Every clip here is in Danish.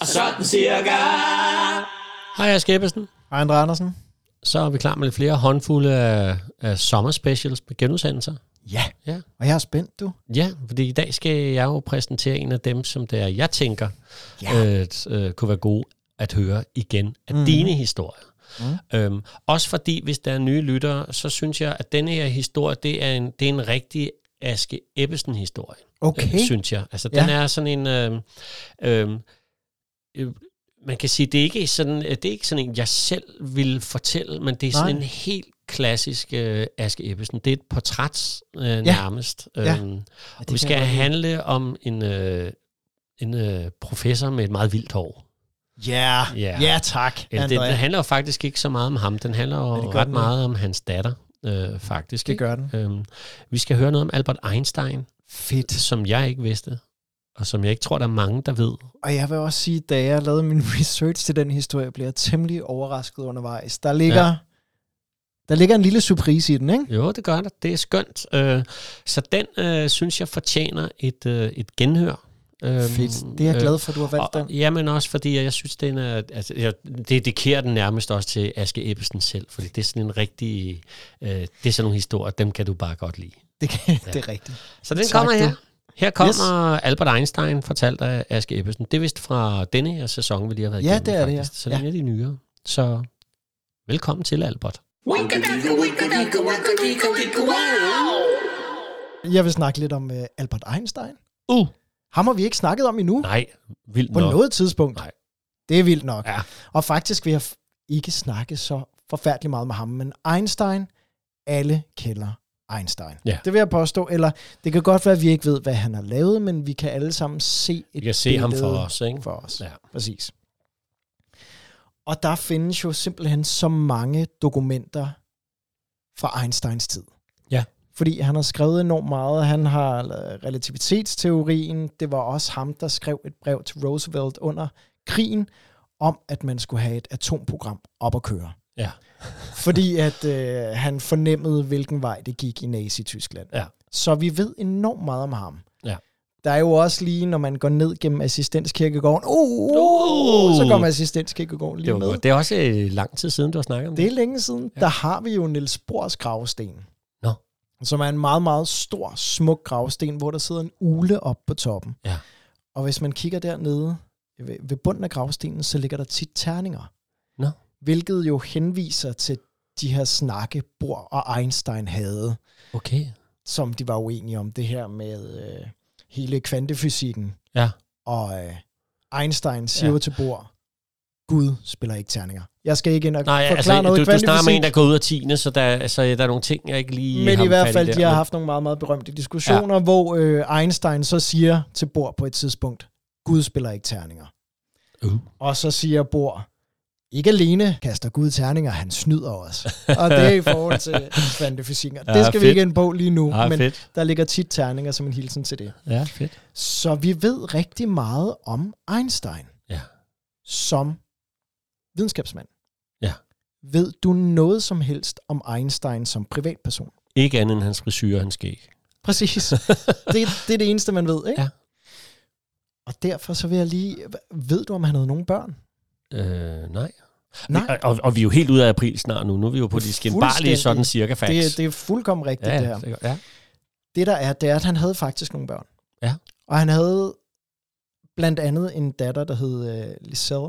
Og sådan cirka. Hej, jeg er Skæbesen. Hej, Andre Andersen. Så er vi klar med lidt flere håndfulde af, af sommerspecials med genudsendelser. Ja. Ja. Og jeg er spændt, du. Ja, fordi i dag skal jeg jo præsentere en af dem, som det er, jeg tænker, ja. øh, t- øh, kunne være gode at høre igen af mm. dine historier. Mm. Øhm, også fordi, hvis der er nye lyttere, så synes jeg, at denne her historie, det er en, det er en rigtig Aske Ebbesen-historie, Okay. øh, synes jeg. Altså, Ja. den er sådan en... Øh, øh, øh, man kan sige, det er ikke sådan, øh, det er ikke sådan en, jeg selv vil fortælle, men det er sådan en Nej. helt klassisk øh, Aske Ebbesen. Det er et portræt øh, ja. nærmest. Øh, Ja. og vi skal handle om en, øh, en øh, professor med et meget vildt hår. Ja. Ja. Ja, tak, Eller, det, den Andrea. handler jo faktisk ikke så meget om ham. Den handler jo det gør ret den meget om hans datter, øh, faktisk. Det gør den. ikke? Øhm, vi skal høre noget om Albert Einstein, Fedt. som jeg ikke vidste, og som jeg ikke tror, der er mange, der ved. Og jeg vil også sige, da jeg lavede min research til den historie, blev jeg temmelig overrasket undervejs. Der ligger, ja. der ligger en lille surprise i den, ikke? Jo, det gør der. Det er skønt. Øh, så den, øh, synes jeg, fortjener et, øh, et genhør. Øhm, Fedt. Det er jeg glad for, at du har valgt den. Og, ja, men også fordi jeg, jeg synes, den er, altså, jeg dedikerer den nærmest også til Aske Ebbesen selv, fordi det er sådan en rigtig, øh, det er sådan nogle historier, dem kan du bare godt lide. Det, kan, det er rigtigt. Så den Tak, kommer her. du. Her kommer yes. Albert Einstein, fortalt af Aske Ebbesen. Det er vist fra denne her sæson, vi lige har været Ja, igennem, det er det, ja. faktisk. Så det er Ja. en af de nyere. Så velkommen til, Albert. Jeg vil snakke lidt om uh, Albert Einstein. Uh. Ham har vi ikke snakket om endnu. Nej, vildt på nok. noget tidspunkt. Nej. Det er vildt nok. Ja. Og faktisk vil jeg f- ikke snakke så forfærdeligt meget med ham, men Einstein, alle kender Einstein. Ja. Det vil jeg påstå. Eller det kan godt være, at vi ikke ved, hvad han har lavet, men vi kan alle sammen se Vi et kan se ham for billede os, ikke? for os. Ja. Præcis. Og der findes jo simpelthen så mange dokumenter fra Einsteins tid. Ja. Fordi han har skrevet enormt meget. Han har lavet relativitetsteorien. Det var også ham, der skrev et brev til Roosevelt under krigen, om at man skulle have et atomprogram op at køre. Ja. Fordi at øh, han fornemmede, hvilken vej det gik i Nazi-Tyskland. Ja. Så vi ved enormt meget om ham. Ja. Der er jo også lige, når man går ned gennem assistenskirkegården, uh, uh, Uh. uh, så kommer assistenskirkegården lige Det, var, med. godt. det er også øh, lang tid siden, du har snakket om Det det. er længe siden. Ja. Der har vi jo Niels Bohrs gravsten. Nå. Som er en meget, meget stor, smuk gravsten, hvor der sidder en ule op på toppen. Ja. Og hvis man kigger dernede ved, ved bunden af gravstenen, så ligger der tit terninger. Nå. Hvilket jo henviser til de her snakke, Bohr og Einstein havde, Okay. som de var uenige om, det her med øh, hele kvantefysikken. Ja. Og øh, Einstein siger Ja. ja. til Bohr, Gud spiller ikke terninger. Jeg skal ikke ind og Nej, forklare altså, noget du, du snakker med kvantefysik. en, der går ud af 10. Så der, altså, der er nogle ting, jeg ikke lige Men har i hvert fat fald, der, de har men- haft nogle meget, meget berømte diskussioner, ja. hvor øh, Einstein så siger til Bohr på et tidspunkt, Gud spiller ikke terninger. Uh. Og så siger Bohr, ikke alene kaster Gud terninger, han snyder os. og det er i forhold til kvantefysikken. Ja, Ja, det skal fedt. vi fedt. ikke ind på lige nu, Ja, men Ah, fedt. der ligger tit terninger som en hilsen til det. Ja, fedt. Så vi ved rigtig meget om Einstein Ja. som videnskabsmand. Ja. Ved du noget som helst om Einstein som privatperson? Ikke andet end hans frisyr og hans skæg. Præcis. Det, det er det eneste, man ved, ikke? Ja. Og derfor så vil jeg lige... Ved du, om han havde nogen børn? Øh, nej. Nej. Og, og, og vi er jo helt ude af april snart nu. Nu er vi jo på de skinbarlige Fuldstændig. sådan cirka facts. Det, det er fuldkommen rigtigt, ja, det her. det er godt. ja. Det der er, det er, at han havde faktisk nogle børn. Ja. Og han havde blandt andet en datter, der hed øh, Lisel,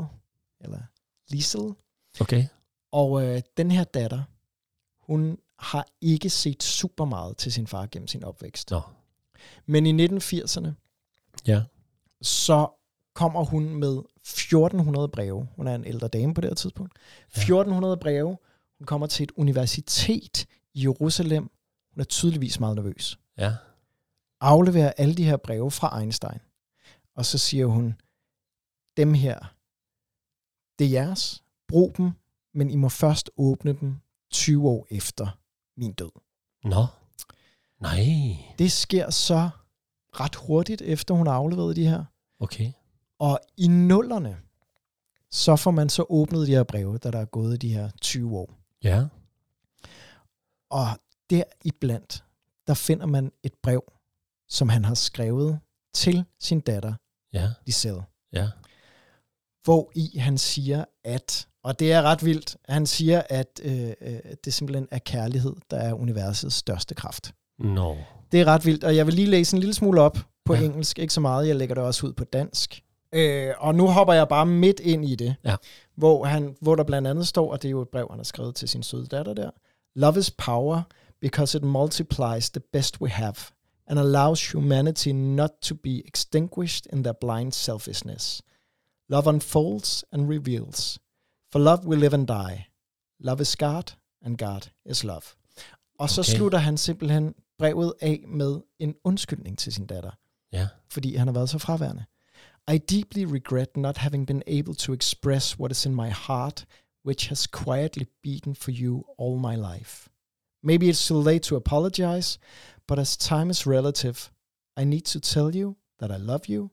eller Lisel. Okay. Og øh, den her datter, hun har ikke set super meget til sin far gennem sin opvækst. Nå. Men i 1980'erne, Ja. så kommer hun med 1400 breve. Hun er en ældre dame på det her tidspunkt. Ja. 1400 breve. Hun kommer til et universitet i Jerusalem. Hun er tydeligvis meget nervøs. Ja. Afleverer alle de her breve fra Einstein. Og så siger hun, dem her, det er jeres. Brug dem, men I må først åbne dem 20 år efter min død. Nå. Nej. Det sker så ret hurtigt, efter hun har afleveret de her. Okay. Og i nullerne, så får man så åbnet de her breve, da der er gået de her 20 år. Ja. Og deriblandt, der finder man et brev, som han har skrevet til sin datter, Ja. Lisette. Ja. hvor i han siger, at, og det er ret vildt, han siger, at øh, øh, det simpelthen er kærlighed, der er universets største kraft. Nå. Det er ret vildt, og jeg vil lige læse en lille smule op på Ja. ja. engelsk, ikke så meget, jeg lægger det også ud på dansk. Øh, og nu hopper jeg bare midt ind i det, Ja. hvor, han, hvor der blandt andet står, og det er jo et brev, han har skrevet til sin søde datter der, Love is power because it multiplies the best we have and allows humanity not to be extinguished in their blind selfishness. Love unfolds and reveals. For love we live and die. Love is God, and God is love. Og så Okay. slutter han simpelthen brevet af med en undskyldning til sin datter Ja. fordi han har været så fraværende. I deeply regret not having been able to express what is in my heart, which has quietly beaten for you all my life. Maybe it's too late to apologize, but as time is relative, I need to tell you that I love you,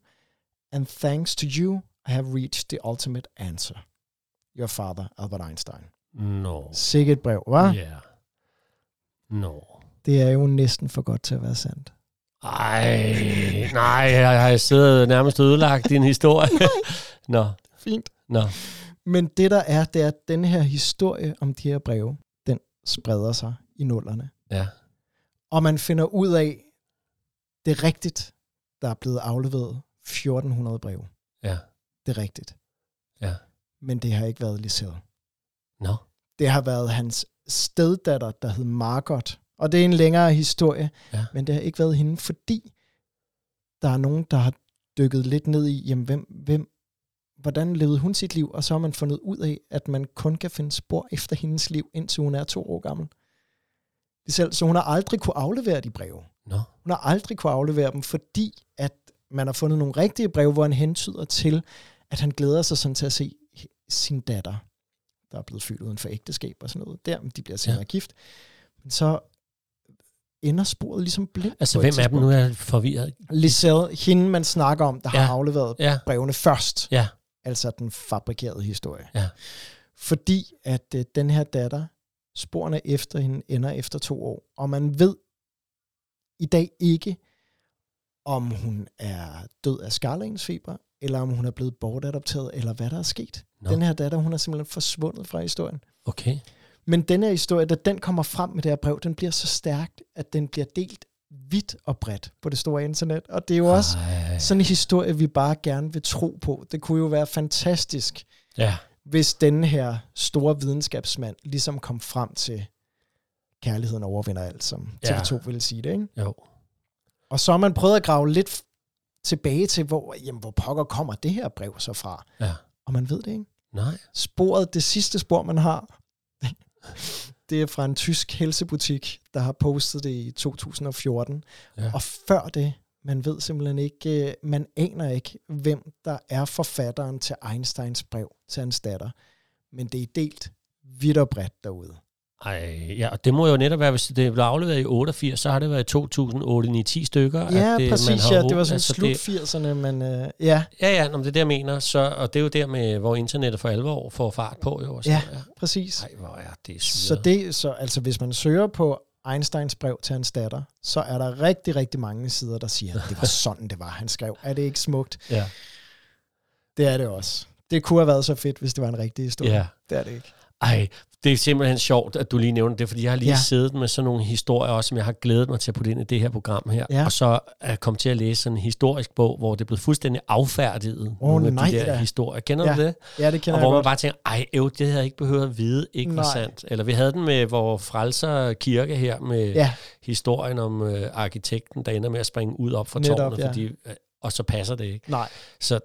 and thanks to you, I have reached the ultimate answer. Your father, Albert Einstein. Nå. Sikke et brev, hva'? Yeah. Ja. Nå. Det er jo næsten for godt til at være sandt. Ej, nej, jeg har siddet og nærmest ødelagt din historie. Nå, Fint. nå. Men det der er, det er, at den her historie om de her breve, den spreder sig i nullerne. Ja. Og man finder ud af, det er rigtigt, der er blevet afleveret 1400 breve. Ja. Det er rigtigt. Ja. Men det har ikke været Lisette. Nå. Det har været hans steddatter, der hed Margot. Og det er en længere historie, Ja. men det har ikke været hende, fordi der er nogen, der har dykket lidt ned i, jamen, hvem, hvem, hvordan levede hun sit liv, og så har man fundet ud af, at man kun kan finde spor efter hendes liv, indtil hun er to år gammel. Selv, så hun har aldrig kunne aflevere de breve. Nå. Hun har aldrig kunne aflevere dem, fordi at man har fundet nogle rigtige breve, hvor han hentyder til, at han glæder sig sådan til at se he- sin datter, der er blevet født uden for ægteskab og sådan noget. Der, men de bliver senere Ja. ja. gift. Men så ender sporet ligesom blindt. Altså, på et hvem er dem nu, tidspunkt. er jeg forvirret? Lisette, hende man snakker om, der ja. Ja. har afleveret Ja, brevene først. ja, Altså den fabrikerede historie. Ja. Fordi at øh, den her datter, sporene efter hende ender efter to år, og man ved i dag ikke, om hun er død af skarlagensfeber, eller om hun er blevet bortadopteret, eller hvad der er sket. Nå. No. Den her datter, hun er simpelthen forsvundet fra historien. okay. Men den her historie, da den kommer frem med det her brev, den bliver så stærkt, at den bliver delt vidt og bredt på det store internet. Og det er Ah. jo også Ej. sådan en historie, vi bare gerne vil tro på. Det kunne jo være fantastisk, Ja, hvis den her store videnskabsmand ligesom kom frem til, kærligheden overvinder alt, som Ja. TV2 ville sige det. Ikke? jo. Og så har man prøvet at grave lidt f- tilbage til, hvor, jamen, hvor pokker kommer det her brev så fra? Ja. Og man ved det ikke. Nej. Sporet, det sidste spor, man har, det er fra en tysk helsebutik, der har postet det i 2014. Ja. Og før det, man ved simpelthen ikke, øh, man aner ikke, hvem der er forfatteren til Einsteins brev til hans datter. Men det er delt vidt og bredt derude. Ej, ja, og det må jo netop være, hvis det blev afleveret i 88, så har det været 2008, 9, 10 stykker. Ja, det, det, man præcis. har Ja, ro- det var sådan altså, altså slut det- 80'erne, men øh, ja, Ja, ja, nå, men det er det, jeg mener. Så, og det er jo der, med, hvor internettet for alvor får fart på. Jo, og sådan Ja. noget, præcis. Ej, hvor er det syret. Så det, så altså hvis man søger på Einsteins brev til hans datter, så er der rigtig, rigtig mange sider, der siger, at det var sådan, det var, han skrev. Er det ikke smukt? Ja. Det er det også. Det kunne have været så fedt, hvis det var en rigtig historie. Ja. Det er det ikke. Ej, det er simpelthen sjovt, at du lige nævner det, fordi jeg har lige ja. Ja. siddet med sådan nogle historier også, som jeg har glædet mig til at putte ind i det her program her. Ja. Og så er jeg kommet til at læse sådan en historisk bog, hvor det er blevet fuldstændig affærdiget. Åh, nogle af nej de der da. historier. Kender Ja, du det? Ja, det Og kender jeg hvor man godt. bare tænker, ej, øv, det havde jeg ikke behøvet at vide, ikke var Nej. sandt. Eller vi havde den med vores frelser kirke her, med ja. Ja. historien om øh, arkitekten, der ender med at springe ud op fra Netop, tårnet, ja. fordi, øh, og så passer det ikke. Nej, Så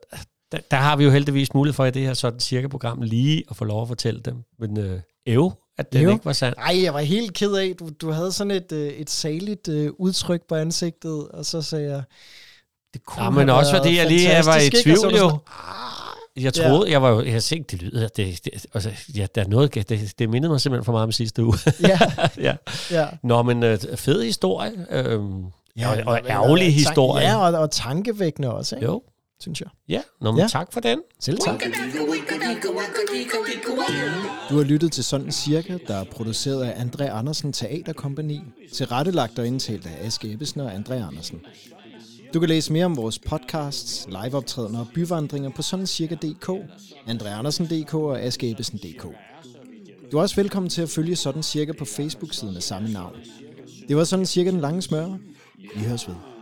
der, der har vi jo heldigvis mulighed for i det her sådan cirka program lige at få lov at fortælle dem. Men øh, ev, at det Øv. ikke var sandt. Ej, jeg var helt ked af, du, du havde sådan et, øh, et saligt øh, udtryk på ansigtet, og så sagde jeg, det kunne Ja, men have også været fordi jeg lige jeg var i fantastisk, ikke? Altså, Og så tvivl jo. var du sådan, Jeg Ah, Ja. troede, jeg var jo, jeg havde set, det lyder, det, det, altså, ja, der er noget, det, det mindede mig simpelthen for meget om sidste uge. Ja, ja. ja. Nå, men øh, fed historie, øh, ja, og, og men, ærgerlig øh, tan- historie. Ja, og, og tankevækkende også, ikke? Jo, synes jeg. ja, Nå, men ja. Ja. tak for den. Selv tak. Waka-dicka-waka-dicka-wicka-wicka. Du har lyttet til Sådan Cirka, der er produceret af André Andersen Teaterkompagni, tilrettelagt og indtalt af Aske Ebbesen og André Andersen. Du kan læse mere om vores podcasts, liveoptrædener og byvandringer på sådancirka.dk, Andre Andersen.dk og Aske Ebbesen.dk. Du er også velkommen til at følge Sådan Cirka på Facebook-siden af samme navn. Det var Sådan Cirka den lange smør. Vi høres ved.